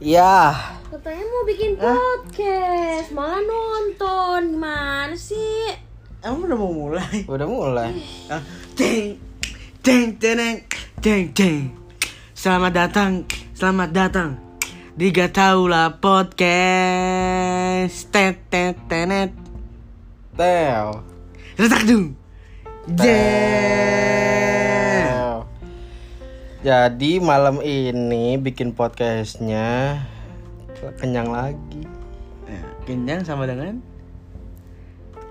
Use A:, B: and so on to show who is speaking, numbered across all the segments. A: Ya,
B: Katanya mau bikin podcast, malah nonton. Gimana sih?
C: Emang udah mau mulai?
A: udah mulai.
C: Ah, Deng, deng, deng, deng, deng. Selamat datang, selamat datang. Diga Taula Podcast. Tet, tet, tenet.
A: Teo.
C: Retak dung. Jeng.
A: Teo. Jadi malam ini bikin podcastnya kenyang lagi.
C: Nah, Kenyang sama dengan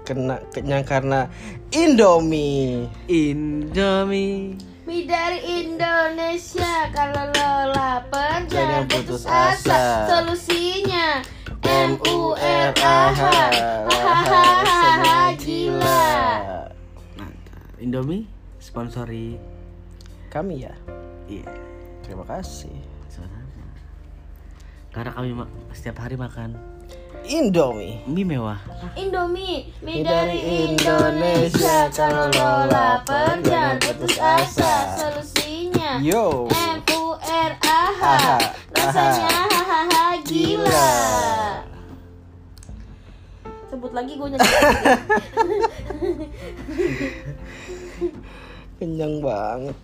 A: Kena kenyang karena Indomie.
C: Indomie.
B: Mie dari Indonesia kalau lo lapar
A: Jangan
B: jangan
A: putus
B: putus
A: asa.
B: asa. Solusinya M U R A H.
A: Hahaha,
B: Hahaha gila.
C: Mantap. Indomie sponsori.
A: Kami ya.
C: Iya.
A: Terima kasih.
C: sama-sama. Karena kami ma- setiap hari makan
A: Indomie.
C: mie mewah.
B: Indomie, mie
A: Mie
B: dari
A: dari Indonesia.
B: Indonesia kalau lo lapar
A: Jangan
B: jangan putus
A: putus asa.
B: asa. Solusinya
A: Yo.
B: M U R A H.
A: Aha,
B: Rasanya hahaha
A: Gila.
B: gila. Sebut lagi gue nyanyi.
A: Kenyang banget.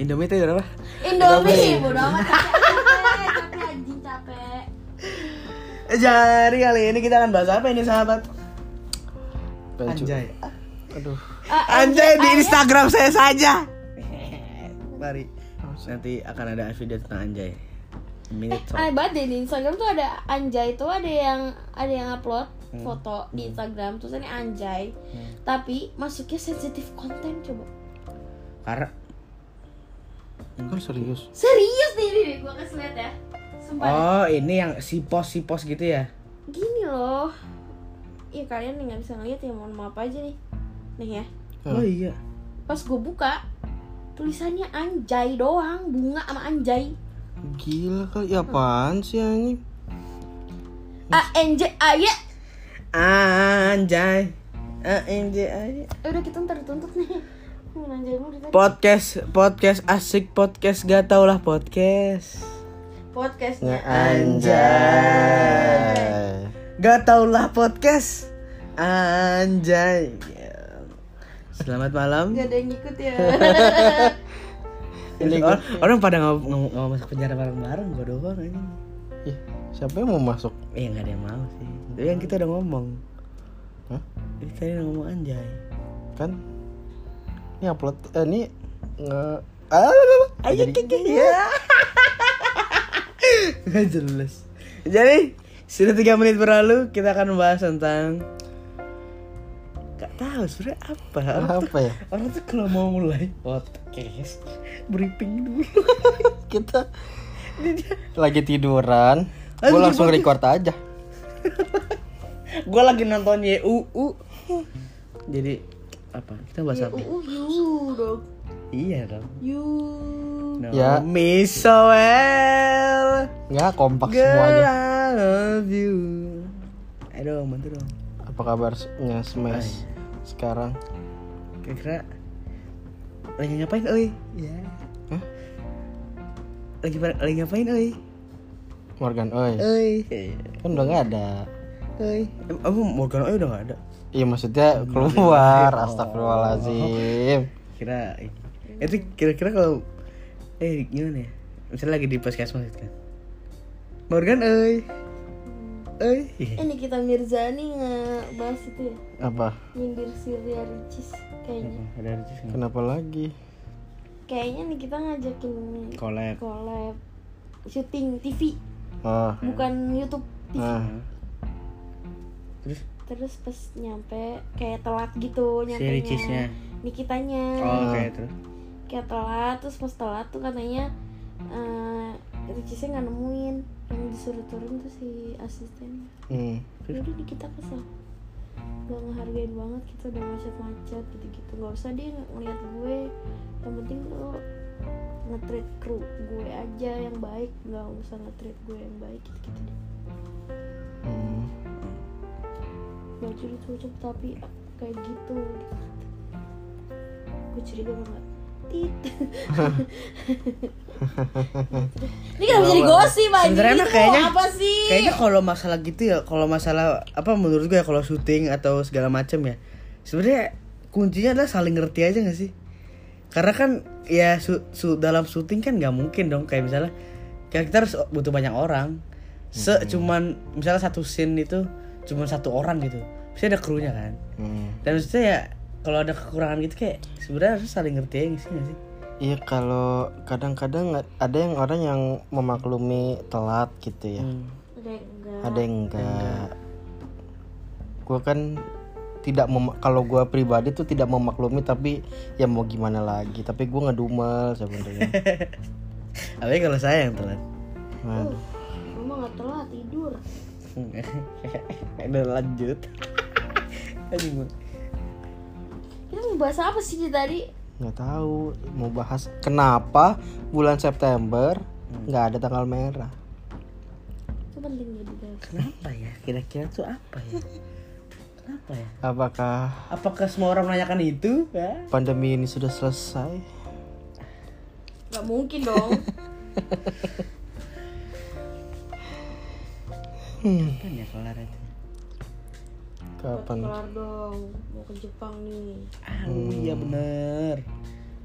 C: Indomie itu berapa?
B: Indomie, bodo amat capek, capek anjing capek.
C: Jadi kali ini kita akan bahas apa ini sahabat?
A: Pengen cu-
C: Anjay.
A: Aduh.
B: Ah,
C: Anjay di Instagram saya saja. Mari. Nanti akan ada video tentang Anjay. Minute talk.
B: Aneh eh, banget deh di Instagram tuh ada anjay tuh ada yang ada yang upload foto di Instagram tulisannya anjay. Tapi masuknya sensitif konten coba.
C: Karena
A: Kan serius.
B: Serius nih ini gua kasih lihat ya. Sumpah.
C: Oh ini yang si pos si pos gitu ya?
B: Gini loh. Ya kalian nggak bisa ngeliat ya mohon maaf aja nih. Nih ya.
A: Hmm.
C: Oh iya.
B: Pas gue buka tulisannya anjay doang, bunga sama anjay.
A: Gila kali Ya apaan sih anjing?
B: A N J A Y. Eh,
C: Anjay. Anjay.
B: Eh, udah kita ntar dituntut nih Mau nanjai mulu tadi.
C: Podcast podcast asik podcast gak tau lah podcast.
B: Podcastnya
A: Anjay.
C: Gak tau lah podcast Anjay Selamat malam
B: Gak ada yang ngikut ya
C: Ini orang, orang pada nggak nggak- nggak masuk penjara bareng-bareng Gue doang ini
A: Ih, siapa yang mau masuk?
C: Eh gak ada yang mau sih Tapi kan kita udah ngomong
A: Hah?
C: Ini tadi udah ngomong anjay
A: Kan? Ini upload eh ini nge Ah, lah, lah, lah.
C: Ayo
A: Jadi-
C: kiki ya Gak jelas Jadi sudah tiga menit berlalu kita akan membahas tentang Gak tahu sebenernya apa Orang tuh-
A: apa ya?
C: Orang tuh kalau mau mulai podcast briefing dulu.
A: Kita lagi tiduran. Gue
C: Anjing,
A: langsung
C: bagus.
A: record aja.
C: Gue lagi nonton YUU. Jadi apa? Kita bahas apa?
B: Uh you dong
C: Iya dong.
B: You
C: No,
A: Ya.
C: me so well.
A: Nggak kompak
C: Girl,
A: semuanya.
C: I love you. Aduh, mantu dong.
A: Apa kabarnya Smash sekarang?
C: Kira-kira lagi ngapain, oi? Ya.
A: Hah?
C: Lagi pada- lagi ngapain, oi?
A: Morgan, oi.
C: Oi.
A: Kan udah nggak ada.
C: Oi. Em, apa Morgan oi udah gak ada?
A: Iya maksudnya keluar.
C: Oh.
A: Astagfirullahalazim.
C: kira itu kira-kira kalau eh gimana ya misalnya lagi di puskesmas gitu kan Morgan oi oi
B: Eh, Ini kita Mirzani ngebahas itu ya
A: Apa?
B: Nyindir Surya Ricis Kayaknya
C: ada Ricis nggak
A: Kenapa lagi?
B: Kayaknya nih kita ngajakin
C: collab
B: collab Syuting TV
A: Oh.
B: Bukan Youtube TV
A: Nah,
C: terus
B: Terus pas nyampe Kayak telat gitu
C: si
B: nyampe
C: Ricisnya
B: Nikitanya
C: oh, oke terus
B: kayak telat terus pas telat tuh katanya eh Ricisnya nggak nemuin yang disuruh turun tuh si asistennya
A: hmm.
B: jadi di kita kesel gak ngehargain banget kita udah macet-macet gitu-gitu gak usah dia ngeliat gue yang penting lo nge-treat kru gue aja yang baik gak usah nge-treat gue yang baik gitu-gitu deh
A: hmm.
B: gak jadi cocok tapi kayak gitu gue curiga banget tit ini kenapa jadi gosip aja
C: Sebenarnya mah kayaknya-
B: apa sih
C: Kayaknya kalau masalah gitu ya, kalau masalah apa menurut gue ya kalau syuting atau segala macem ya, sebenarnya kuncinya adalah saling ngerti aja gak sih? Karena kan ya su, su- dalam syuting kan nggak mungkin dong kayak misalnya kayak kita harus butuh banyak orang. Se cuman misalnya satu scene itu cuman satu orang gitu. Pasti ada krunya kan.
A: Hmm.
C: Dan maksudnya ya kalau ada kekurangan gitu kayak sebenarnya harus saling ngerti aja nggak sih nggak sih?
A: Iya kalau kadang-kadang ada yang orang yang memaklumi telat gitu ya.
C: Hmm.
B: Ada yang enggak
A: Ada yang enggak. Gue kan tidak mem- kalau gue pribadi tuh tidak memaklumi tapi ya mau gimana lagi tapi gue ngedumel sebenarnya.
C: Apalagi kalau saya yang telat.
A: Aduh.
B: mama nggak telat tidur
C: Udah lanjut. Anjing gua.
B: kita mau bahas apa sih dari tadi
A: nggak tahu mau bahas kenapa bulan September nggak ada tanggal merah
B: itu penting gak dibahas
C: Kenapa ya? Kira-kira tuh apa ya? Kenapa ya?
A: apakah
C: Apakah semua orang menanyakan itu? Ya?
A: pandemi ini sudah selesai
B: nggak mungkin dong
C: Kan ya kelar itu.
A: kapan
B: kelar dong mau ke Jepang nih
C: Ah, oh iya bener.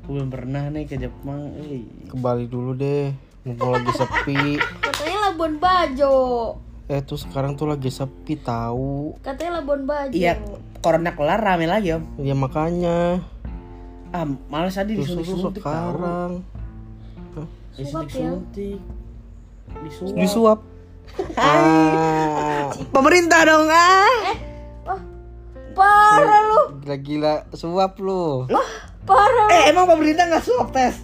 C: Gue belum pernah nih ke Jepang.
B: Iya.
C: Eh.
A: ke Bali dulu deh mumpung lagi sepi
B: katanya Labuan Bajo
A: eh tuh sekarang tuh lagi sepi tahu
B: katanya Labuan Bajo
C: Iya, corona kelar rame lagi om.
A: ya makanya
C: Ah, malas tadi
A: justru tuh
C: disuntik-suntik tau.
A: sekarang
B: Suap ya.
C: Disuntik-suntik. Disuap.
A: disuap Ah,
C: Pemerintah dong ah.
B: Wah, Oh, parah lu
A: gila-gila suap lu
B: parah
C: Eh emang pemerintah nggak swab Ya. tes?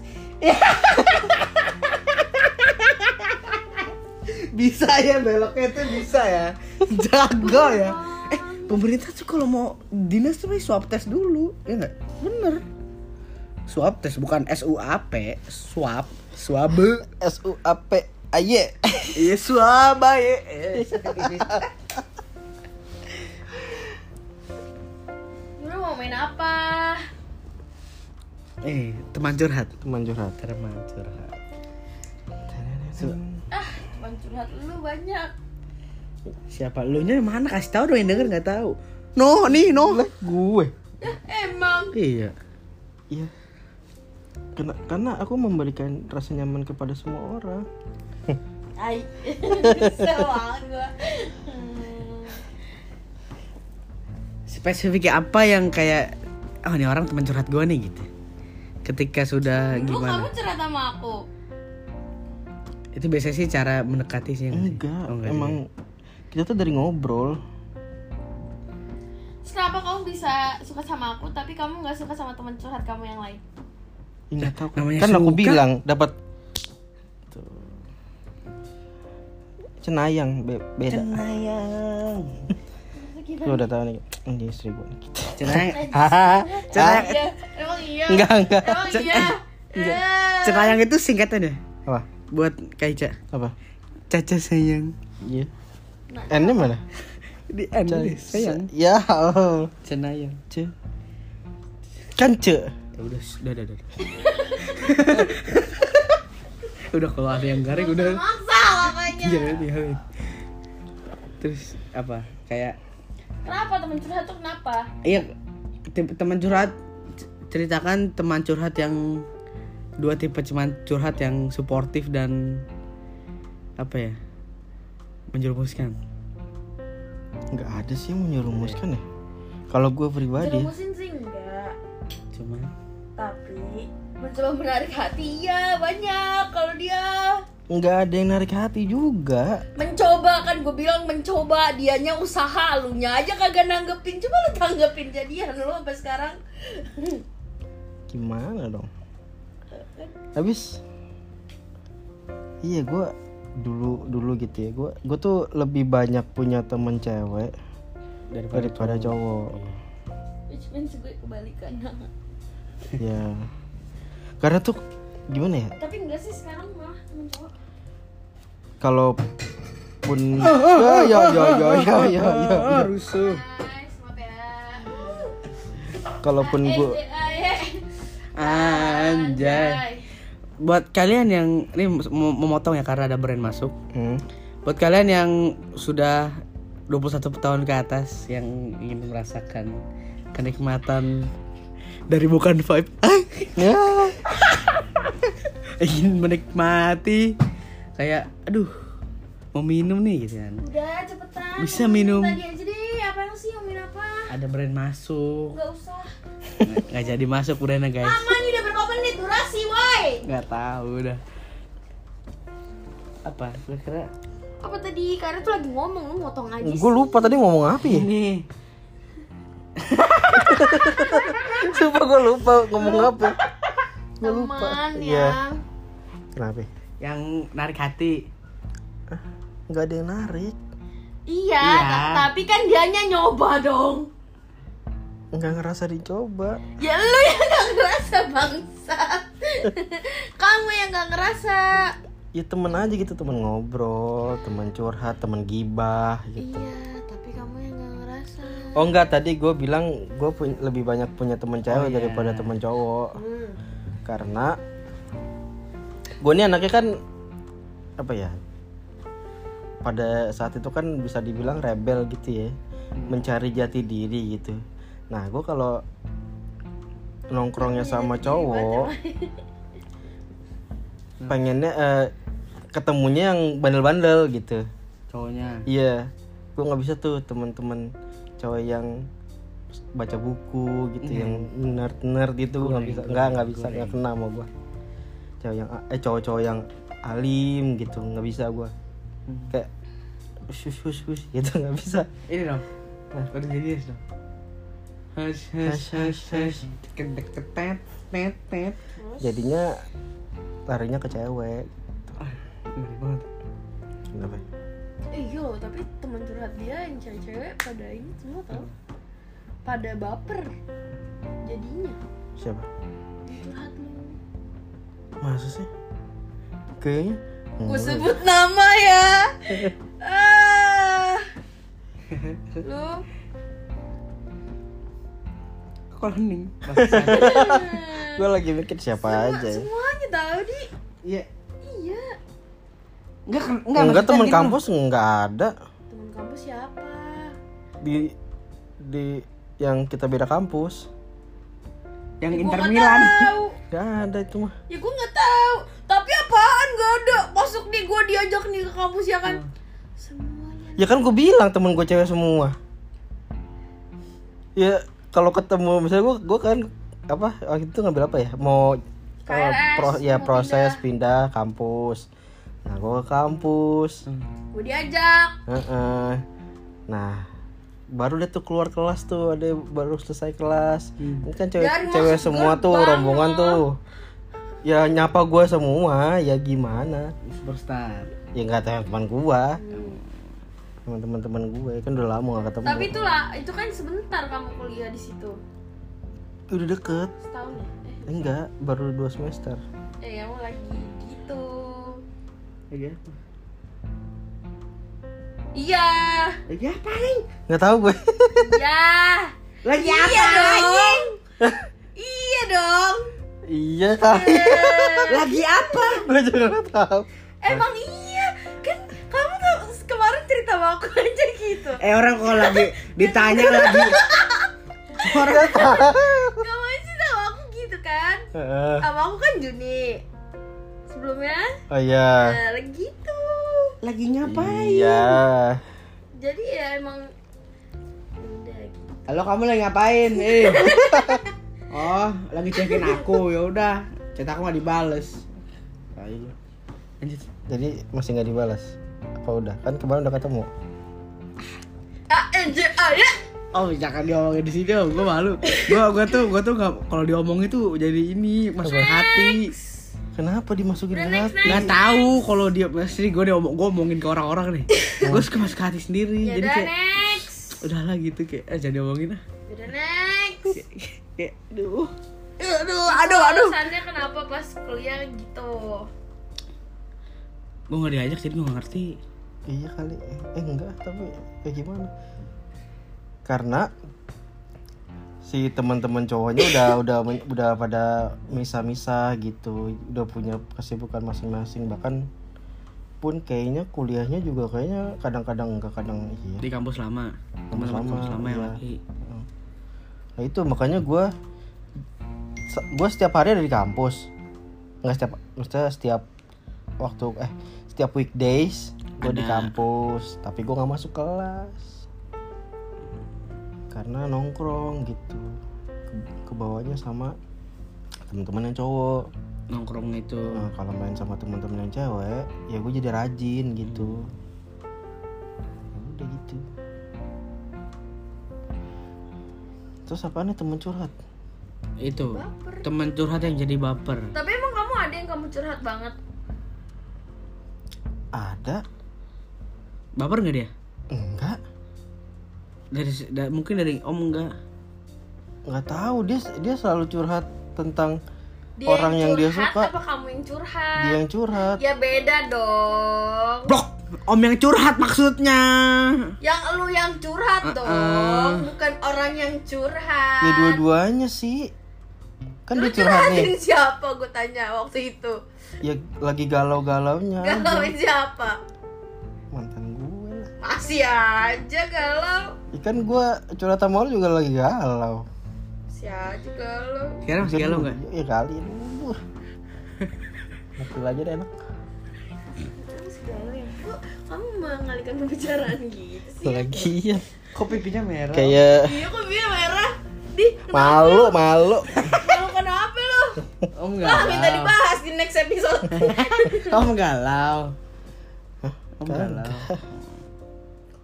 C: bisa ya beloknya itu bisa ya jago ya eh pemerintah tuh kalau mau dinas tuh mesti swab tes dulu ya nggak bener swab tes bukan SUAP swab swabe
A: S U A P A Y
C: iya swab ya
B: lu mau main apa
C: eh teman curhat
A: teman curhat
C: teman curhat
B: Cuman curhat lu banyak
C: siapa lu nya mana kasih tahu dong yang denger nggak tahu no nih no
A: gue
B: emang
C: iya
A: Iya. Karena, karena aku memberikan rasa nyaman kepada semua orang.
B: Ay, kesel banget gua.
C: spesifiknya apa yang kayak oh ini orang teman curhat gue nih gitu ketika sudah
B: Lu kamu
C: Eh, gimana
B: curhat sama aku.
C: itu biasanya sih cara mendekati sih ya nggak sih?
A: Enggak,
C: Oh,
A: emang kita tuh dari ngobrol.
B: Terus Kenapa kamu bisa suka sama aku tapi kamu nggak suka sama teman curhat kamu yang lain?
A: Ingat aku.
C: namanya
A: Kan aku
C: suka.
A: bilang dapat Tuh. cenayang be-
C: juga.
A: beda.
C: cenayang
A: Lu udah tahu nih. Ini istri gue.
C: cenayang
A: Cenayang.
B: Iya, emang iya.
A: Enggak, enggak.
B: Emang iya. Eh,
C: cenayang itu singkatannya
A: Apa?
C: buat Kaica
A: Apa?
C: Caca sayang
A: Iya. N-nya mana?
C: di N
A: Cai-
C: deh, sayang
A: Ya. Allah.
C: cenayang
A: C. Kan C.
C: ya udah udah udah udah udah kalau ada yang garing udah
B: Maksa makanya.
C: jangan dihalin terus apa kayak
B: Kenapa teman curhat tuh kenapa?
C: Iya, tim- teman curhat c- ceritakan teman curhat yang dua tipe cuman curhat yang suportif dan apa ya menjerumuskan.
A: Enggak ada sih yang menyerumuskan ya. Kalau gue pribadi,
B: Jerumusin sih enggak,
C: Cuman
B: tapi mencoba menarik hati ya banyak kalau dia
A: enggak ada yang narik hati juga.
B: mencoba kan gue bilang mencoba dianya usaha lunya aja kagak nanggepin coba lu tanggepin jadian lu sampai sekarang
A: gimana dong
B: Kan,
A: habis iya gue dulu dulu gitu ya gue gue tuh lebih banyak punya temen cewek
C: daripada
A: daripada cowok
B: which means gue kebalikan
A: ya karena tuh gimana ya
B: tapi enggak sih sekarang malah mencoba
A: kalau pun ya ya ya ya ya ya, ya.
C: Ah, rusuh.
B: guys maaf ya
A: kalaupun gue
B: Eh, eh, eh.
C: Anjay. Buat kalian yang ini mau memotong ya karena ada brand masuk.
A: Hmm.
C: Buat kalian yang sudah 21 tahun ke atas yang ingin merasakan kenikmatan dari bukan vibe
A: Ya.
C: ingin menikmati kayak aduh mau minum nih gitu kan
B: Udah cepetan.
C: Bisa minum.
B: Tadi aja deh, apa yang sih yang minum apa?
C: ada brand masuk
B: Enggak usah.
C: nggak nggak jadi masuk brandnya guys
B: Aman nih udah berapa menit durasi, boy?
C: nggak tahu udah apa kira-kira
B: Apa tadi? Karena tuh lagi ngomong, lu motong aja
A: Gue lupa tadi ngomong apa
C: Iya.
A: ya?
C: ini
A: Sumpah gue lupa ngomong apa. Gue lupa.
B: Teman
A: Iya.
B: yang
A: Kenapa?
C: yang narik hati
A: Gak ada yang narik.
B: Iya,
C: Iya.
B: ta- tapi kan dianya nyoba dong.
A: Gak ngerasa dicoba.
B: Ya lu yang gak ngerasa bangsa. Kamu yang gak ngerasa.
A: Ya temen aja gitu, temen ngobrol, temen curhat, temen gibah gitu.
B: Iya, tapi kamu yang gak ngerasa.
A: Oh enggak, tadi gue bilang gue lebih banyak punya temen cewek daripada temen cowok.
B: Hmm.
A: karena gue ini anaknya kan apa ya pada saat itu kan bisa dibilang rebel gitu ya mencari jati diri gitu nah gue kalau nongkrongnya sama cowok pengennya eh, ketemunya yang bandel-bandel gitu
C: cowoknya
A: iya gue nggak bisa tuh teman-teman cowok yang baca buku gitu yang nerd nerd gitu gue nggak bisa nggak nggak bisa nggak kena sama gue cowok yang eh cowok-cowok yang alim gitu nggak bisa gue kayak sus sus sus gitu nggak bisa
C: ini dong udah Nah, jadi dong Hush, hush, hush, hush. Kedek, ketet, tet, tet.
A: jadinya larinya ke cewek
C: Ngeri banget.
A: kenapa ya?
B: Eh, yo, tapi teman curhat dia yang cewek-cewek pada ini semua tau. Pada baper. Jadinya
A: siapa
B: teman curhat lu.
A: masa sih kayaknya
B: Gue
A: enggak.
B: sebut nama ya. ah. Lu
C: Kok hening?
A: gue lagi mikir siapa aja ya.
B: semuanya tahu di
C: Iya.
B: iya
C: Enggak, enggak,
A: enggak
C: maksudnya
A: teman
C: gini loh.
A: kampus enggak ada
B: teman kamu siapa
A: di di yang kita beda kampus
C: Yang
B: Ya, gua
C: Inter
B: nggak
C: Milan.
B: tahu.
A: Gak ada itu mah.
B: ya gue nggak tahu tapi apaan gak ada masuk nih gue diajak nih ke kampus ya kan semuanya
A: Ya kan gue bilang temen gue cewek semua. Ya kalau ketemu misalnya gue gue kan apa waktu itu ngambil apa ya mau eh,
B: KRS,
A: pro- ya
B: mau
A: proses pindah, kampus. Nah gue ke kampus.
B: gue diajak
A: Heeh. Nah baru dia tuh keluar kelas tuh ada yang baru selesai kelas Ini kan cewek
B: Dan
A: cewek
B: masuk
A: semua tuh
B: gerbang
A: rombongan
B: loh.
A: tuh ya nyapa gue semua ya gimana
C: Superstar.
A: ya nggak tahu teman gue teman-teman teman gue kan udah lama gak ketemu
B: Hmm. tapi itulah itu kan sebentar kamu kuliah di situ
A: udah deket
B: setahun ya eh,
A: enggak baru dua semester
B: eh kamu lagi gitu
C: Lagi apa?
B: iya
C: Lagi apa, Ling?
A: nggak tahu gue
B: iya
C: Lagi
B: iya
C: apa?
B: dong iya dong
A: iya kali
C: Lagi apa?
A: gue juga nggak tahu
B: Emang iya, kan kamu tuh kemarin cerita sama aku aja gitu.
C: Eh orang kalau lagi ditanya lagi. Orang
B: Kamu aja cerita sama aku gitu kan?
A: Heeh.
B: Sama aku kan Juni. Sebelumnya,
A: oh iya
B: nah, gitu.
C: lagi ngapain?
A: iya
B: Jadi ya emang udah gitu.
C: Halo kamu lagi ngapain? Eh. Oh, lagi cekin aku. Ya udah, chat aku nggak dibales. Tai lu. Lanjut.
A: jadi masih nggak dibalas apa udah kan kemarin udah ketemu
B: A N J A ya.
C: Oh jangan diomongin di sini dong, gue malu. Gue gue tuh gue tuh nggak kalau diomongin tuh jadi ini masuk ke hati.
A: kenapa dimasukin ke hati
C: Nggak tahu kalau dia pasti gue diomong gue omongin ke orang-orang nih. gue suka masuk ke hati sendiri.
B: Ya
C: jadi
B: udah
C: kayak
B: next. Ya
C: udahlah gitu kayak eh, jangan diomongin lah.
B: Udah next.
C: Kayak, kayak aduh.
B: Aduh, aduh, aduh. Alasannya kenapa pas kuliah gitu?
C: Gue nggak diajak jadi gue nggak ngerti.
A: iya kali eh enggak tapi ya gimana karena si teman-teman cowoknya udah udah men- udah pada misa-misa gitu udah punya kesibukan masing-masing bahkan pun kayaknya kuliahnya juga kayaknya kadang-kadang enggak kadang iya
D: di kampus lama teman-teman
A: lama,
D: kampus lama yang
A: iya.
D: laki
A: Nah itu makanya gue gue setiap hari ada di kampus nggak setiap maksudnya setiap waktu eh setiap weekdays gue di
D: Ada.
A: kampus tapi gue nggak masuk kelas karena nongkrong gitu Ke- kebawanya sama teman-teman yang cowok
D: nongkrong itu
C: Ah.
A: Nah, kalau main sama teman-teman yang cewek ya gue jadi rajin gitu ya udah gitu terus apa nih temen curhat
D: itu
B: Baper.
D: teman curhat yang jadi baper
B: Tapi emang kamu ada yang kamu curhat banget?
A: ada
D: baper nggak dia
A: enggak
D: dari da- mungkin dari om enggak
A: nggak tahu dia dia selalu curhat tentang
B: Dia
A: orang yang, dia
B: curhat
A: suka
B: Apa kamu yang curhat?
A: dia yang curhat
B: Ya beda dong.
D: blok om yang curhat maksudnya
B: Yang lu yang curhat dong, bukan orang yang curhat.
A: ya dua-duanya sih kan
B: Lu
A: dia curhat nih
B: curhatin siapa gue tanya waktu itu?
A: ya lagi galau-galaunya aja.
B: Galauin siapa?
A: mantan gue lah
B: Masih aja galau.
A: ikan gue curhat sama lu juga lagi galau
B: Masih aja galau.
D: sekarang masih galau nggak
A: Iya kali. Aduh. Mukul aja deh enak.
B: Kok kamu mengalihkan pembicaraan gitu sih?
A: Lagi ya.
C: Kok pipinya merah?
A: Kayak
B: Iya kok biar merah? Di,
A: malu malu.
B: lu kenapa lu?
C: Om
B: Wah, minta
C: galau.
B: dibahas di next episode.
C: Om galau. Om galau.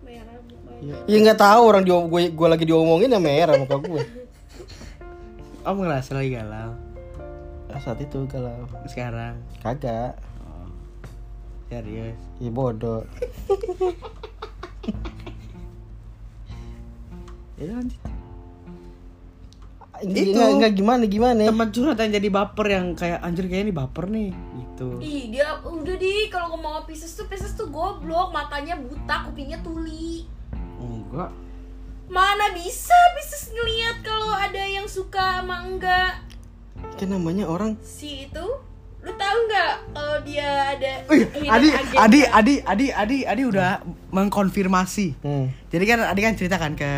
B: merah mukanya.
A: Ya nggak tahu orang dia gue gue lagi diomongin ya merah muka gue.
C: Om ngerasa lagi galau.
A: Nah, saat itu kalau
C: Sekarang
A: kagak
C: serius.
A: ya bodoh.
C: Ya lanjut. Itu.
A: Itu nggak gimana gimana.
C: Teman curhat yang jadi baper yang kayak anjir kayaknya ini baper nih gitu.
B: Ih, dia udah di kalau ngomong sama Pisces tuh Pisces tuh goblok, matanya buta, kupingnya tuli.
C: Enggak.
B: Mana bisa Pisces ngeliat kalau ada yang suka sama enggak
A: Kan namanya orang
B: si itu? Lu tahu nggak kalau dia ada
C: Wih,
B: hidden
C: Adi,
B: agenda?
C: Adi, Adi, Adi, Adi, Adi udah mengkonfirmasi.
A: hmm.
C: Jadi kan Adi kan ceritakan ke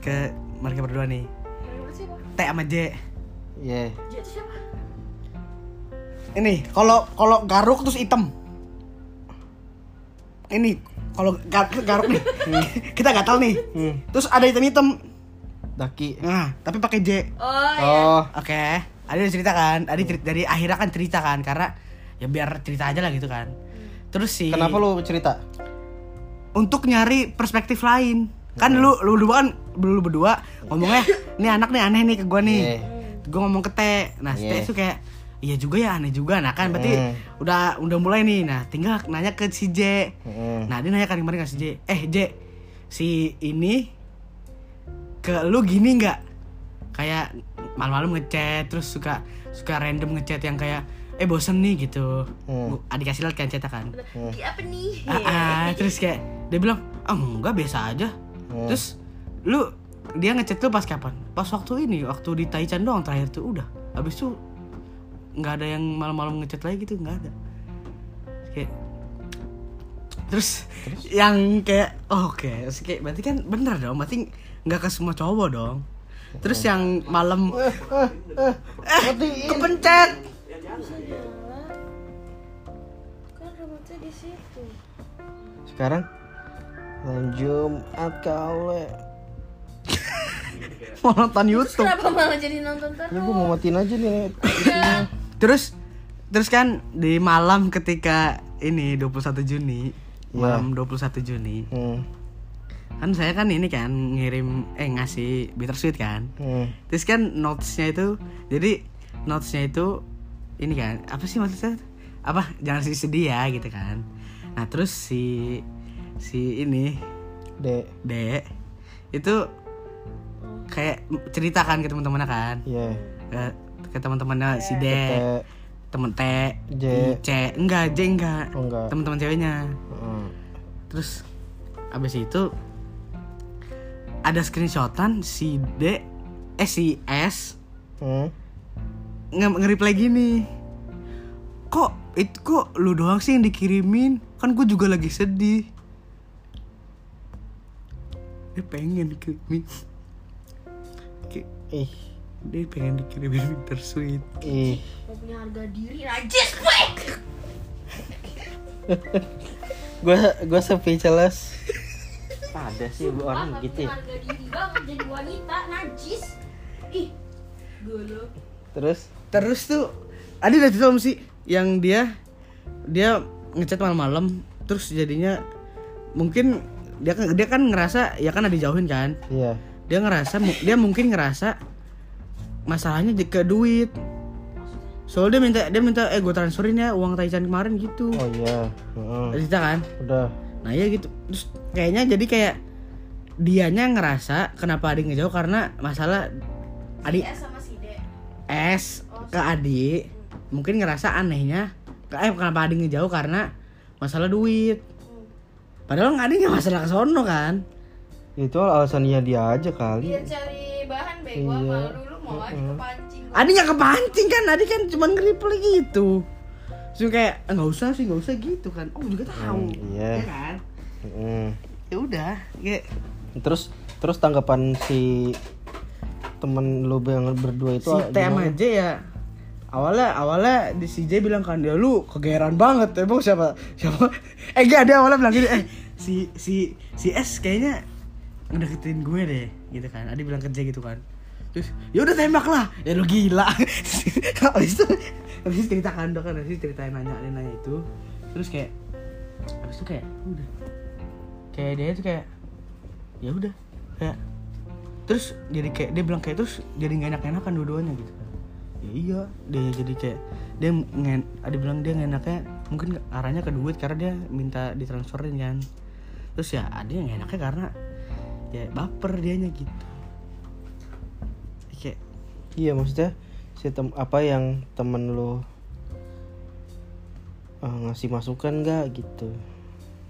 C: ke mereka berdua nih.
B: Mana sih, Pak?
C: T sama J.
A: ya
B: Dia tuh siapa?
C: Ini kalau kalau garuk terus hitam. Ini kalau gar- garuk nih kita gatal nih. Terus ada hitam-hitam.
A: daki.
C: Nah, tapi pakai J.
B: Oh, ya.
A: Oh,
C: Oke, Adi udah cerita kan? Adi cerita, dari akhirnya kan cerita kan karena ya biar cerita aja lah gitu kan. Terus sih
A: kenapa lu cerita?
C: untuk nyari perspektif lain. Kan
A: Iya.
C: lu lu berdua kan lu berdua ngomongnya nih anak nih aneh nih ke gua nih.
A: Iya.
C: Gua ngomong ke Teh. Nah, si
A: Iya.
C: Teh tuh kayak iya juga ya aneh juga. Nah, kan berarti
A: Hmm.
C: udah udah mulai nih. Nah, tinggal nanya ke si J.
A: Hmm.
C: Nah, dia nanya kan kemarin ke si J. Eh, J. Si ini ke lu gini nggak? Kayak malam-malam ngechat terus suka suka random ngechat yang kayak eh bosen nih gitu.
A: Hmm.
C: Adik kasih lihat kan cetakan.
B: Dia apa nih?
C: Ah, ah. terus kayak dia bilang, "Ah, enggak biasa aja."
A: Hmm.
C: Terus lu dia ngechat lu pas kapan? Pas waktu ini, waktu di Taichan doang terakhir tuh udah. Habis itu nggak ada yang malam-malam ngechat lagi gitu, nggak ada. Kayak Terus, yang kayak oh, oke, Terus kayak berarti kan bener dong, berarti nggak ke semua cowok dong. Terus yang malam eh, kepencet.
E: kan rambutnya di situ
A: Sekarang Malam Jumat kau le.
C: Mau nonton YouTube.
B: Kenapa malah jadi nonton terus?
A: Ya, gue mau matiin aja nih.
C: Terus terus kan di malam ketika ini 21 Juni, malam 21 Juni.
A: Hmm.
C: Kan saya kan ini kan ngirim eh ngasih bittersweet kan.
A: Hmm.
C: Terus kan notesnya itu jadi notesnya itu ini kan apa sih maksudnya? Apa jangan sedih sedih ya gitu kan. Nah, terus si si ini
A: Dek.
C: Dek itu kayak ceritakan ke teman-temannya kan.
A: Iya.
C: Ke, ke teman-temannya si Dek
A: Dek.
C: temen T,
A: J.
C: I, C, enggak J enggak,
A: Oh, enggak.
C: teman-teman ceweknya.
A: Heeh.
C: Terus abis itu ada screenshotan si D
D: eh si S
A: Hmm?
D: nge- nge-reply gini kok itu kok lu doang sih yang dikirimin kan gue juga lagi sedih dia pengen dikirimin Ki-
A: Ih,
D: dia pengen dikirimin bittersweet
A: ih.
B: Mau punya harga diri najis gue.
A: Gue gue speechless. Ada sih bu orang gitu ya.
B: harga diri banget jadi wanita najis. Ih, dulu.
A: Terus
C: Terus tuh ada udah itu sih yang dia dia ngechat malam-malam terus jadinya mungkin dia kan dia kan ngerasa ya kan ada dijauhin kan
A: iya.
C: dia ngerasa mu- dia mungkin ngerasa masalahnya di- ke duit soalnya dia minta dia minta eh gue transferin ya uang Taichan kemarin gitu
A: Oh iya. Heeh.
C: cerita kan
A: Udah.
C: nah iya gitu terus kayaknya jadi kayak dianya ngerasa kenapa adik ngejauh karena masalah adik
B: Ya sama si D.
C: S ke adik mungkin ngerasa anehnya ke- eh kenapa adik ngejauh karena masalah duit
A: Hmm.
C: padahal adik nggak masalah ke sono kan
A: Itu alasannya dia aja kali.
B: Dia cari bahan bego
A: Iya.
B: sama lu, lu mau aja kepancing.
C: Adi nggak kepancing kan, Adi kan cuma nge-reply gitu. Terus kayak "Ah, nggak usah sih, nggak usah gitu kan. Om juga tahu.
A: Hmm, iya.
C: Ya kan?
A: Heeh.
C: Ya udah, kayak
A: Terus terus tanggapan si temen lu yang berdua itu
C: si TM
A: gimana?
C: aja ya. Awalnya awalnya di CJ bilang kan dia lu kegeran banget. Emang siapa? Siapa? Eh gak ada awalnya bilang gini, eh si si si S kayaknya ngedeketin gue deh gitu kan. Adi bilang kerja gitu kan. Terus ya udah tembak lah. Ya lu gila. habis itu habis itu cerita kan dok kan habis itu ceritain nanya nanya itu. Terus kayak habis itu kayak udah kayak dia tuh kayak ya udah kayak terus jadi kayak dia bilang kayak terus jadi nggak enak enakan dua-duanya gitu kan ya iya dia jadi kayak dia ngen ada bilang dia nggak enaknya mungkin arahnya ke duit karena dia minta ditransferin kan terus ya ada yang nggak enaknya karena ya baper dianya gitu kayak
A: Iya maksudnya si tem apa yang temen lu eh, ngasih masukan nggak gitu?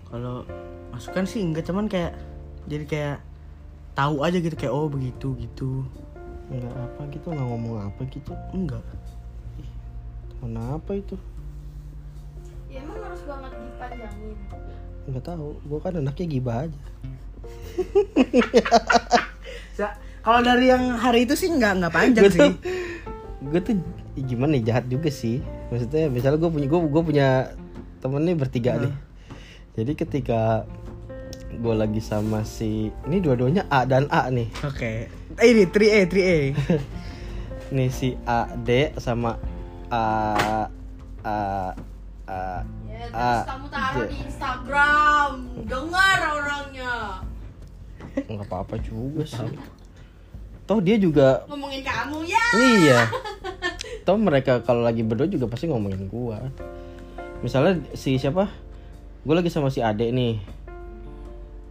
C: kalau masukan sih enggak cuman kayak jadi kayak tahu aja gitu kayak oh begitu gitu
A: Nggak apa gitu nggak ngomong apa gitu?
C: enggak
A: Kenapa itu?
B: Ya emang harus banget dipanjangin.
A: Nggak tahu. Gue kan anaknya gibah aja.
C: kalau dari yang hari itu sih enggak enggak panjang
A: Gua tuh- gue tuh gimana nih jahat juga sih maksudnya misalnya gue punya gue punya temen nih bertiga nih jadi ketika gue lagi sama si ini dua-duanya A dan A nih
C: Oke. Eh, Ini 3A, 3A.
A: nih si A D sama A A A
B: Ya,
A: Ah,
B: terus kamu taruh
A: iya.
B: di Instagram. Dengar orangnya.
A: nggak apa-apa juga sih toh dia juga
B: Ngomongin kamu ya.
A: Iya. Toh mereka kalau lagi berdua juga pasti ngomongin gua. Misalnya si siapa? Gue lagi sama si Ade nih.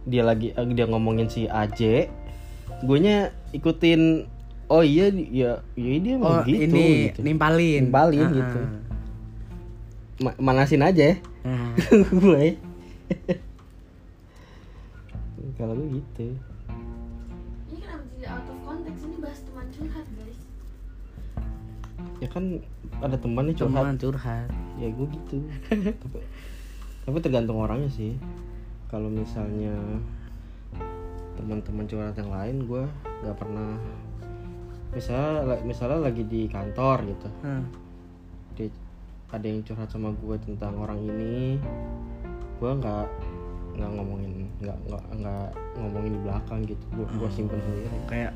A: Dia lagi eh, dia ngomongin si AJ. Guenya ikutin Oh iya ya ya dia
C: Oh,
A: emang gitu
C: ini
A: gitu.
C: nimpalin.
A: Nimpalin,
C: Ah,
A: gitu.
C: ah.
A: Ma- manasin aja ya.
C: Ah.
A: gue. kalau gue gitu.
B: Ini kenapa jadi out of context? Ini bahas teman curhat, guys.
A: Ya kan ada temannya curhat.
C: Cuman curhat.
A: ya gue gitu tapi, tapi tergantung orangnya sih kalau misalnya teman-teman curhat yang lain gue nggak pernah misalnya la- misalnya lagi di kantor gitu
C: Ah.
A: dia, ada yang curhat sama gue tentang orang ini gue nggak nggak ngomongin nggak nggak nggak ngomongin di belakang gitu gue gue simpen sendiri
C: Kayak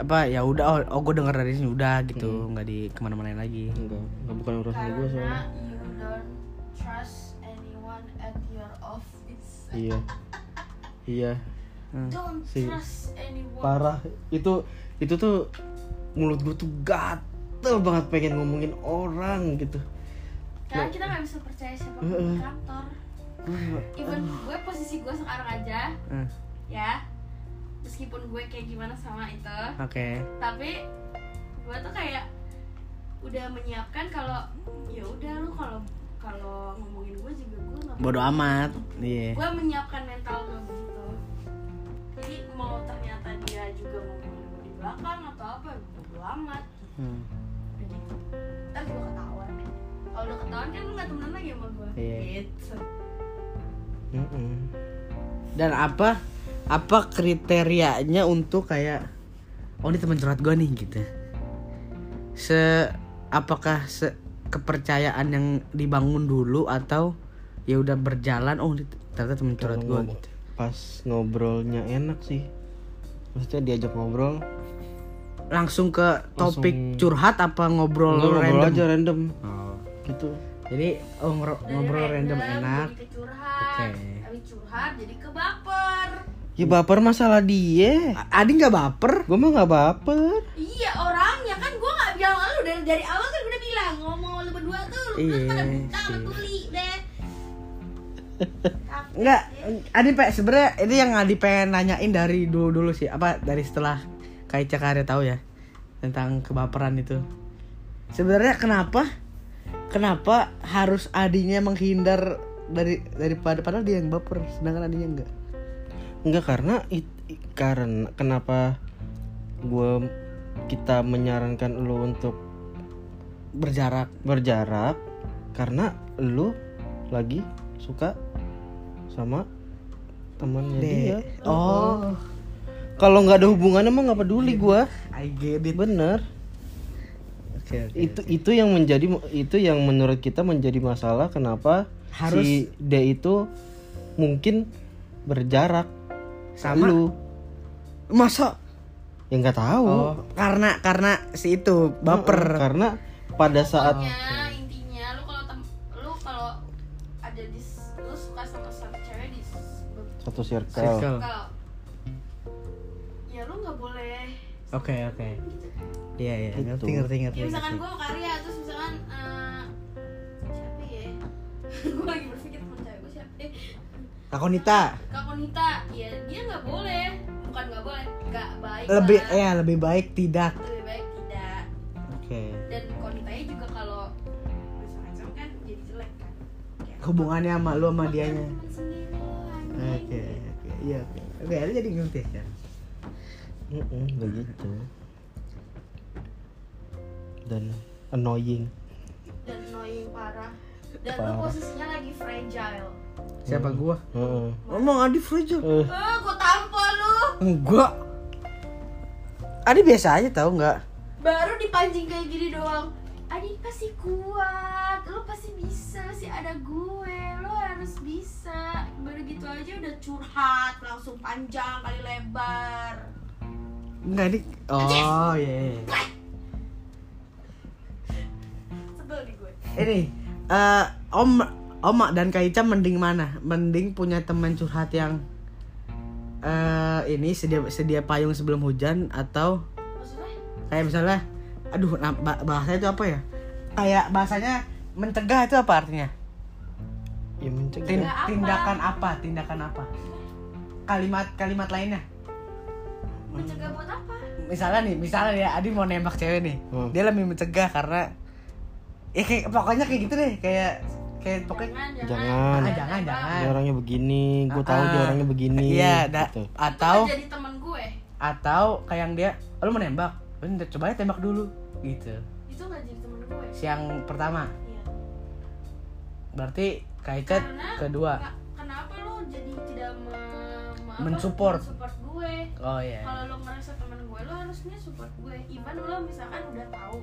C: apa ya udah oh, oh gue denger dari sini udah gitu,
A: Hmm.
C: nggak di kemana mana lagi.
A: nggak nggak bukan urusan gue soalnya
B: Karena you don't trust anyone at your office.
A: iya iya
B: Don't
A: Si-
B: trust anyone.
A: parah itu itu tuh mulut gue tuh gatel banget pengen ngomongin orang gitu
B: Karena kita nggak bisa percaya siapa di kantor. Even gue posisi gue sekarang aja,
C: Ah,
B: ya. Meskipun gue kayak gimana sama itu,
C: Oke.
B: tapi gue tuh kayak udah menyiapkan kalau ya udah lu kalau kalau ngomongin gue juga gue nggak
C: Bodoh amat. Iya.
B: gue menyiapkan mental gitu. gue begitu jadi mau ternyata dia juga ngomongin gue di belakang atau apa bodo amat
C: Hmm.
B: udah gitu ntar gue ketahuan kalau udah ketahuan kan lu nggak temenan lagi sama gue
C: Iya.
B: gitu
A: Mm-mm.
C: Dan apa apa kriterianya untuk kayak oh ini teman curhat gue nih gitu. Se apakah se kepercayaan yang dibangun dulu atau ya udah berjalan oh ini ternyata teman curhat
A: Kalau
C: gue
A: ngomong-
C: gitu.
A: pas ngobrolnya enak sih maksudnya diajak ngobrol
C: Langsung ke topik
A: Langsung-
C: curhat apa ngobrol,
A: ngobrol, ngobrol
C: random?
A: aja random
C: Oh.
A: gitu
C: Jadi oh, ngro-
B: Dari
C: ngobrol random enak.
B: jadi ke curhat
C: Oke.
B: habis curhat jadi ke baper
A: ya
C: Hmm.
A: baper masalah dia
C: A- Adi nggak baper?
A: gue mah nggak baper
B: iya orangnya kan gue nggak bilang sama lu dari dari awal kan gue udah bilang ngomong sama lu berdua tuh lu berdua
C: Iya
B: pada buta sama
C: sih.
B: tuli deh
C: Enggak, Adi pe sebenarnya ini yang Adi pengen nanyain dari dulu dulu sih apa dari setelah Kak Ica Karya tahu ya tentang kebaperan itu. Sebenarnya kenapa kenapa harus Adinya menghindar dari daripada padahal dia yang baper sedangkan Adinya enggak.
A: Enggak karena it- i- karena kenapa gue kita menyarankan lu untuk
C: Berjarak.
A: berjarak karena lu lagi suka sama temannya dia.
C: Dek. Oh,
A: Kalau nggak ada hubungannya mah nggak peduli
C: Iya.
A: gua.
C: I get it. Oke,
A: Bener.
C: oke.
A: Itu itu yang menjadi itu yang menurut kita menjadi masalah kenapa
C: Harus-
A: si D itu mungkin berjarak
C: Sama?
A: lu.
C: Masa
A: Ya nggak tahu.
C: oh, karena karena si itu baper.
A: Karena pada saat
B: Pokoknya intinya lu kalau tem- lu kalau ada di s- lu suka sama satu cewek di s-
A: satu circle.
C: Circle.
B: kalau ya lu nggak boleh
C: Oke, oke. Iya, iya,
A: Gitu.
C: ngerti ngerti ngerti.
B: ya misalkan
C: ngerti.
B: gue karya terus misalkan eh, siapa ya gue lagi berpikir teman cewek gue siapa ya?
C: Kakonita.
B: kak Konita ya dia nggak boleh bukan nggak boleh nggak baik
C: lebih
B: lah.
C: ya lebih baik tidak
B: lebih baik tidak
C: oke
B: dan Konitanya juga kalau macam-macam kan jadi jelek kan Kayak,
C: hubungannya sama lu sama
B: "Makan
C: dianya
B: teman sendiri lo,
C: oke
B: anjing."
C: oke iya oke oke lu jadi ngerti ya
A: Mm-mm, begitu. Dan annoying.
B: dan annoying parah dan
A: Parah.
B: lu posisinya lagi fragile
C: siapa gua
A: Heeh.
C: ngomong Adi fragile
A: Hmm. Eh,
B: eh gue tampol lu
C: enggak Adi biasa aja tau nggak
B: baru dipancing kayak gini doang Adi pasti kuat, lo pasti bisa, masih ada gue, lo harus bisa Baru gitu aja udah curhat, langsung panjang kali lebar
C: enggak Adi oh iya iya.
B: Sebel nih gue
C: ini eh Om Oma dan Kak Ica mending mana mending punya teman curhat yang eh ini sedia sedia payung sebelum hujan atau
B: Maksudnya?
C: kayak misalnya aduh nah, ba- bahasanya itu apa ya kayak bahasanya mencegah itu apa artinya
A: ya mencegah.
C: Tin-
B: Mencegah apa?
C: tindakan apa tindakan apa kalimat kalimat lainnya
B: Mencegah buat apa?
C: misalnya nih misalnya ya Adi mau nembak cewek nih
A: Hmm.
C: dia lebih mencegah karena ya kayak pokoknya kayak gitu deh kayak kayak pokoknya
B: Jangan,
A: Jangan.
C: Ah, jangan, jangan.
A: Dia orangnya begini, gue tahu dia
C: Ah,
A: orangnya begini.
C: iya da-
A: gitu.
B: Tahu?
C: atau
B: kan Jadi teman gue,
C: atau kayak yang dia "Oh, lu mau nembak "Oh, ntar coba aja tembak dulu gitu
B: itu nggak jadi teman gue.
C: siang pertama
B: Iya.
C: berarti kaitet
B: Karena-
C: kedua
B: Ka- Kenapa lo jadi tidak me, me- apa,
C: Mensupport.
B: mensupport gue?
C: oh iya
B: Kalau lo ngerasa teman gue, lo harusnya support gue. Even lo misalkan udah tahu,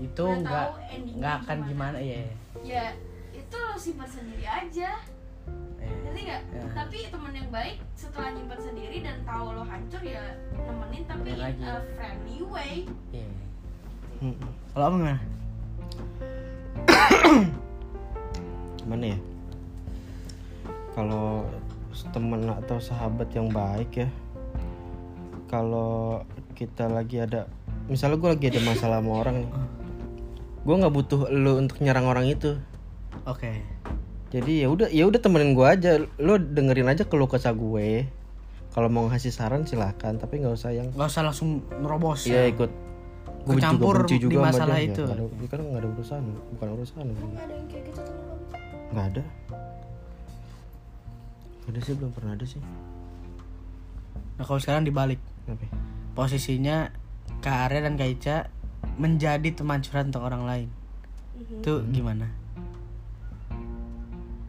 C: itu
B: udah
C: enggak
B: tahu endingnya
C: nggak akan gimana ya
B: Ya itu lo simpan sendiri aja, ngerti nggak?
C: Ya.
B: Tapi teman yang baik setelah nyimpan sendiri dan tahu lo hancur ya nemenin tapi
C: Temenin lagi.
B: in a friendly way.
C: Iya.
A: Mm-mm.
C: kalau apa gimana
A: Gimana ya? Kalau teman atau sahabat yang baik ya. Kalau kita lagi ada misalnya gue lagi ada masalah sama orang nih. Gue nggak butuh lu untuk nyerang orang itu.
C: oke
A: Jadi ya udah ya udah temenin gue aja. Lo dengerin aja keluh kesah gue. Kalau mau ngasih saran silahkan, tapi nggak usah yang
C: nggak usah langsung nerobos
A: Iya ikut. Gue juga
C: Kecampur
A: benci
C: di
A: juga sama
C: masalah
A: dia. Ya,
C: itu.
A: nggak ada- Kan nggak ada urusan, bukan urusan.
E: nggak ada yang kayak gitu temen kamu
A: Nggak ada. Nggak Ada sih belum pernah ada sih.
C: nah kalau sekarang dibalik
A: Kenapa?
C: posisinya Kak Arya dan Kak Ica menjadi teman curhat untuk orang lain.
E: Mhm.
C: Itu gimana?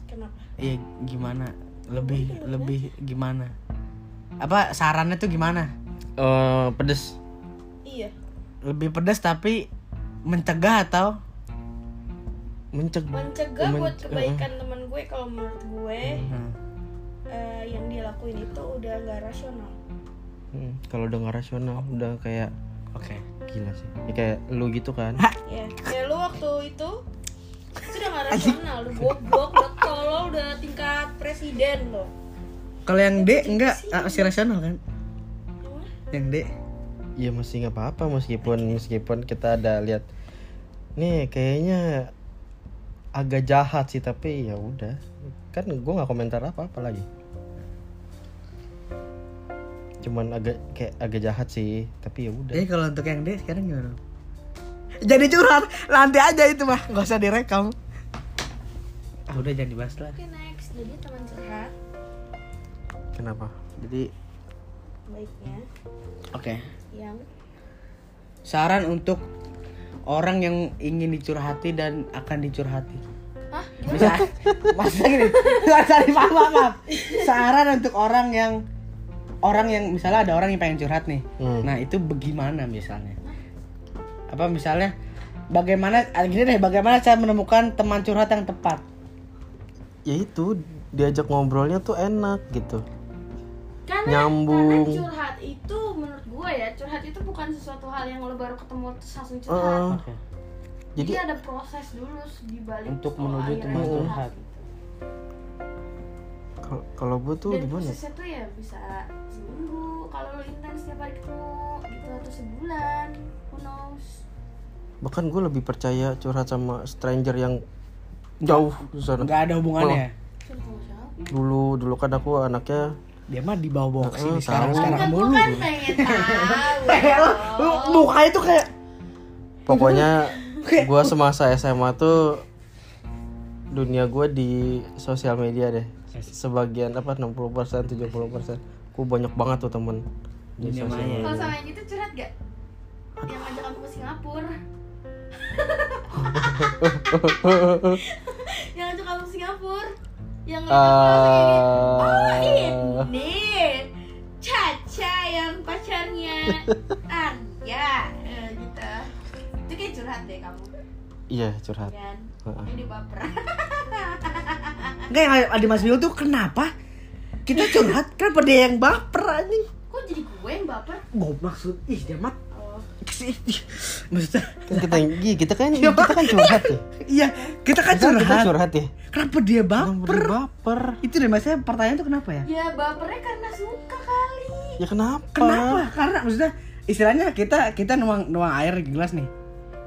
E: Kenapa?
C: Iya, gimana? Lebih lebih gimana? Apa sarannya tuh gimana?
A: Eh, pedes
E: Iya.
C: Lebih pedas tapi mencegah atau
A: mencegah
E: Mencegah buat
A: Menc-
E: kebaikan
C: uh-huh.
E: teman gue kalau menurut gue
C: Hmm.
E: eh, yang dia lakuin itu udah nggak rasional.
A: Hmm, kalau udah nggak rasional udah kayak
C: Oke.
A: gila sih ya, kayak lu gitu kan
E: Ya, kayak lu waktu itu itu udah nggak rasional, lu goblok, udah tolol, udah tingkat presiden lo.
C: Kalau yang D enggak ah, masih rasional kan?
E: Emang?
C: Yang D.
A: ya masih nggak apa-apa meskipun meskipun kita ada lihat nih kayaknya agak jahat sih tapi ya udah kan gue nggak komentar apa apa lagi cuman agak kayak agak jahat sih tapi ya udah
C: Jadi kalau untuk yang D sekarang gimana? Jadi curhat nanti aja itu mah, nggak usah direkam. Ah, udah jangan dibahas lah.
E: Oke next, jadi teman curhat
A: kenapa jadi
E: baiknya
C: Oke.
E: yang
C: Saran untuk orang yang ingin dicurhati dan akan dicurhati.
E: Hah?
C: Bisa? Maksudnya gini, nggak usah dipaham maaf. Saran untuk orang yang orang yang misalnya ada orang yang pengen curhat nih.
A: Hmm.
C: Nah itu bagaimana misalnya? Apa misalnya? Bagaimana? ah, Gini deh, bagaimana saya menemukan teman curhat yang tepat?
A: ya itu diajak ngobrolnya tuh enak gitu
B: karena
A: Nyambung.
B: karena curhat itu menurut gue ya curhat itu bukan sesuatu hal yang lo baru ketemu terus langsung curhat
A: Heeh.
C: Oke.
B: jadi
A: Eh, jadi
B: ada proses dulu dibalik
C: Untuk
B: lo
C: menuju
B: akhirnya
C: teman curhat.
B: gitu.
A: kal- kalau gue tuh
B: dan
A: gimana
B: prosesnya tuh ya bisa seminggu kalau lo intens setiap hari ketemu gitu atau sebulan who knows
A: bahkan gue lebih percaya curhat sama stranger yang jauh di sana
C: Nggak ada hubungannya.
B: curhat sama siapa
A: dulu dulu kan aku anaknya
C: Dia mah dibawa bawa ke sini
A: Heeh,
C: sekarang
A: tahu.
B: kan
C: sekarang
B: gue
C: mulu.
B: kan pengen tahu
C: Muka itu kayak
A: pokoknya gue semasa SMA tuh dunia gue di sosial media deh sebagian apa 60% 70% gue banyak banget tuh temen di
C: Dunia
A: sosial
C: maya.
B: kalau
A: media
B: sama yang itu curhat gak yang ngajak aku ke Singapura yang ngajak aku ke Singapura yang ngajak aku kayak gini oh ini Caca yang pacarnya Arya Eh, gitu itu kayak curhat deh kamu
A: iya curhat
B: kan
A: Heeh.
B: ini baper
C: Enggak yang ada Mas Bio tuh kenapa? Kita curhat kenapa dia yang baper anjing?
B: kok jadi gue yang baper
C: Gue maksud ih dia mat
B: oh
C: Ih, maksudnya
A: kan kita iya, kita kan kita kan curhat ya
C: iya kita kan
A: kita, kita
C: curhat
A: curhat ya
C: kenapa dia
A: Kenapa
C: baper
A: dia baper
C: itu deh maksudnya pertanyaan tuh kenapa ya
B: ya bapernya karena suka kali
A: ya kenapa
C: kenapa karena maksudnya istilahnya kita kita nuang nuang air di gelas nih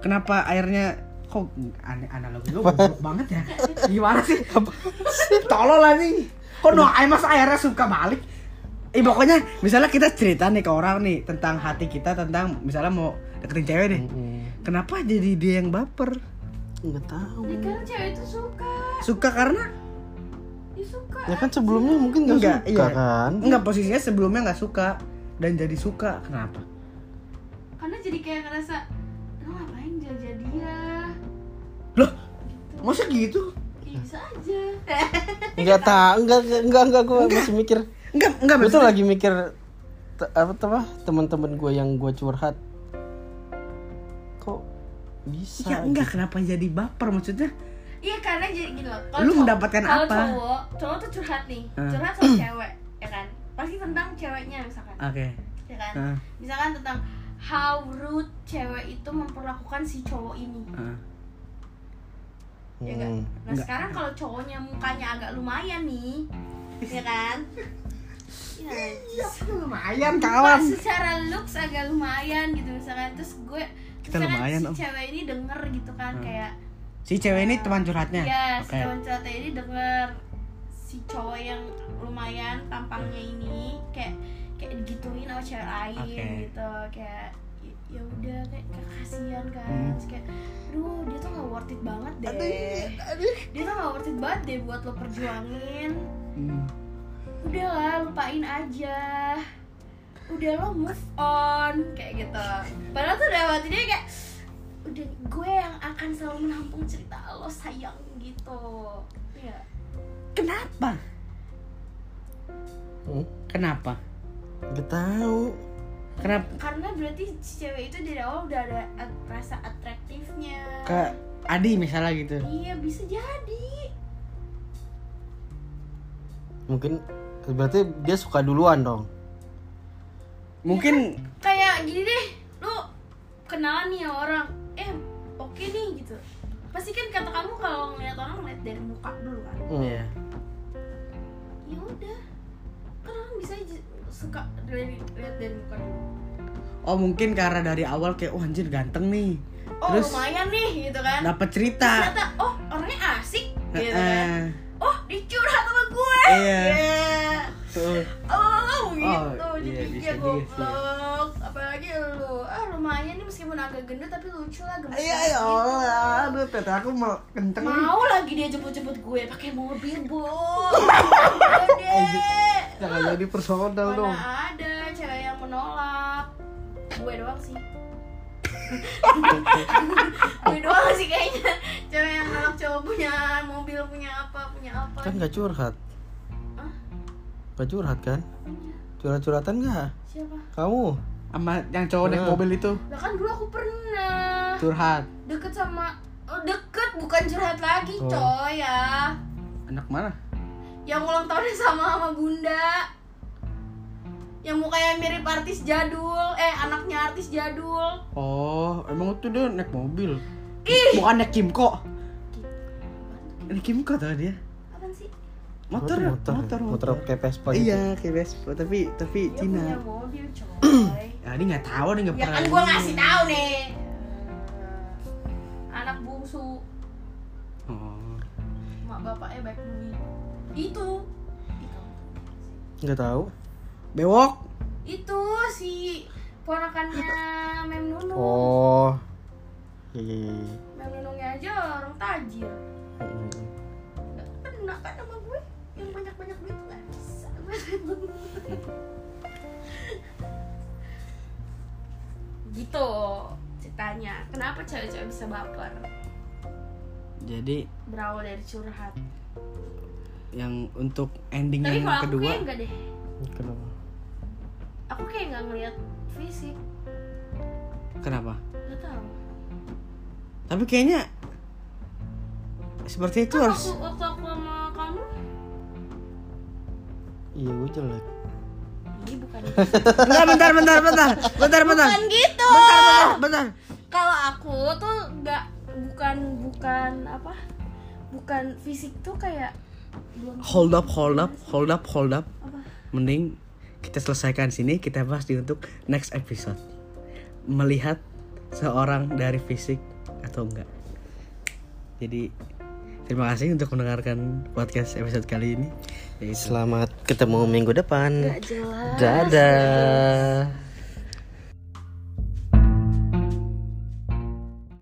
C: kenapa airnya kok aneh analog gue goblok banget ya gimana sih tolol lah nih kok nuang air mas airnya suka balik Eh pokoknya misalnya kita cerita nih ke orang nih tentang hati kita tentang misalnya mau deketin cewek deh. Kenapa jadi dia yang baper?
A: nggak tahu
B: ya karena cewek itu suka
C: Suka karena
B: ya suka
A: ya kan sebelumnya mungkin nggak
C: Nggak,
A: suka
C: iya.
A: kan
C: enggak posisinya sebelumnya nggak suka dan jadi suka. Kenapa?
B: karena jadi kayak ngerasa lo ngapain jaja dia
C: Masa gitu?
A: Nah.
B: ya bisa aja
A: nggak tahu nggak nggak nggak, nggak gue masih mikir
C: Enggak, enggak
A: gue tuh
C: maksudnya-
A: lagi mikir te- apa tuh apa teman-teman gue yang gue curhat kok bisa gitu?
C: Ya enggak kenapa jadi baper maksudnya?
B: iya karena jadi gini loh kalau
C: Lu
B: cowok-
C: mendapatkan
B: kalau
C: apa?
B: cowok cowok tuh curhat nih
A: Ah.
C: Hmm.
B: curhat sama cewek ya kan pasti tentang ceweknya
A: Ah.
B: misalkan
C: Oke.
B: ya kan
C: Heeh.
B: misalkan tentang how rude cewek itu memperlakukan si cowok ini
C: heeh.
B: ya kan?
A: Hmm.
B: nah
C: Enggak.
B: sekarang kalau cowoknya mukanya agak lumayan nih ya kan Iya,
C: Lumayan
B: Pak,
C: kawan.
B: secara looks agak lumayan gitu misalkan terus gue
C: Kita
B: misalkan
C: lumayan,
B: si
C: Om.
B: cewek ini denger gitu kan
C: Hmm.
B: kayak
C: Si cewek ini teman curhatnya.
B: ya si
C: Oke.
B: teman cerita ini denger si cowok yang lumayan tampangnya ini kayak kayak digituin sama cewek lain
C: Oke.
B: gitu kayak "Ya- ya udah kayak, kayak kasihan kan
C: Hmm. iya.
B: Terus kayak aduh dia tuh gak worth it banget deh dia tuh gak worth it banget deh buat lo perjuangin
C: Hmm.
B: udahlah lupain aja udah lo move on kayak gitu padahal tuh udah waktu dia kayak udah gue yang akan selalu menampung cerita lo sayang gitu ya
C: Kenapa?
A: Hmm?
C: Kenapa?
A: Gak tahu.
C: Kenapa?
B: karena berarti si cewek itu dari awal udah ada at- rasa atraktifnya
C: Kak Adi misalnya gitu.
B: iya bisa jadi
A: Mungkin berarti dia suka duluan dong.
C: Mungkin
B: kayak gini deh lu kenalan nih ya orang eh oke nih gitu pasti kan kata kamu kalau ngeliat orang ngeliat dari muka dulu kan
C: Iya.
A: Hmm.
B: ya udah kan orang bisa aja suka dari lihat dari muka dulu
C: oh mungkin karena dari awal kayak wah anjir ganteng nih.
B: oh
C: Terus Nah.
B: lumayan nih gitu kan
C: dapat cerita.
B: ternyata oh orangnya asik gitu kan
C: Heeh.
B: oh dicurhat sama gue
C: Eh, Iya.
B: Yeah. oh gitu
C: Oh, iya, bisa
B: jadi
C: gitu.
B: goblok apalagi lu ah lumayan nih meskipun agak gendut tapi lucu lah gemes
C: Iya
B: gitu.
C: ya Allah, aduh tete aku mau kenceng. nih.
B: mau lagi dia jemput-jemput gue pakai mobil bu
A: Jangan jadi personal
B: mana
A: dong.
B: ada cewek yang menolak gue doang sih gue doang sih kayaknya cewek yang nolak cowok punya mobil punya apa punya apa
A: Kan gak curhat.
B: Hah?
A: Gak curhat kan? Curhat-curhatan gak?
B: siapa
A: Kamu?
C: Sama yang cowok naik
A: Nah.
C: mobil itu
B: lah kan dulu aku pernah
C: curhat.
B: deket sama oh, deket bukan curhat lagi
A: Oh.
B: coy ya
C: Anak mana?
B: yang ulang tahunnya sama sama bunda yang mukanya mirip artis jadul eh anaknya artis jadul
C: Oh, emang itu dia naik mobil.
B: Ih!
C: Bukan naik Kimco. Naik Kimco tuh dia.
B: apa sih
C: Motor,
A: Motor,
C: motor, motor.
A: motor kayak Vespa gitu.
C: Iya, kayak Vespa, tapi
B: dia
C: tapi Cina.
B: Iya, punya mobil coy
C: Ya, ini nggak tahu nih nggak
B: ya
C: pernah.
B: kan gua ngasih tahu nih Eh, anak bungsu
C: Oh.
B: mak bapaknya baik bumi itu itu
A: Gak tahu.
C: Bewok.
B: itu si ponakannya mem nunung
A: Oh. Iya iya iya, iya.
B: mem nunungnya aja orang tajir
A: Mm, mm.
B: Nggak kena kan sama gue yang banyak banyak duit nggak bisa gue. gitu ceritanya kenapa cewek-cewek bisa baper
C: Jadi
B: berawal dari curhat
C: yang untuk ending
B: tapi
C: yang
B: kalau aku
C: kedua
B: kayak enggak deh
A: Kenapa?
B: aku kayak nggak ngeliat fisik
C: kenapa?
B: nggak tahu
C: Tapi kayaknya seperti itu
B: Kan
C: harus
B: waktu, waktu aku sama kamu
A: Iya gue jelek.
B: ini bukan gitu.
C: Bentar, bentar, bentar, bentar, bentar, bentar,
B: bukan gitu
C: bentar, bentar.
B: kalau aku tuh nggak bukan bukan apa bukan fisik tuh kayak belum
C: Hold up, hold up, hold up, hold up.
B: Apa?
C: Mending kita selesaikan sini, kita bahas di untuk next episode. Melihat seorang dari fisik atau enggak. Jadi terima kasih untuk mendengarkan podcast episode kali ini. Yaitu-
A: Selamat ketemu minggu depan.
B: nggak jelas
A: Dadah.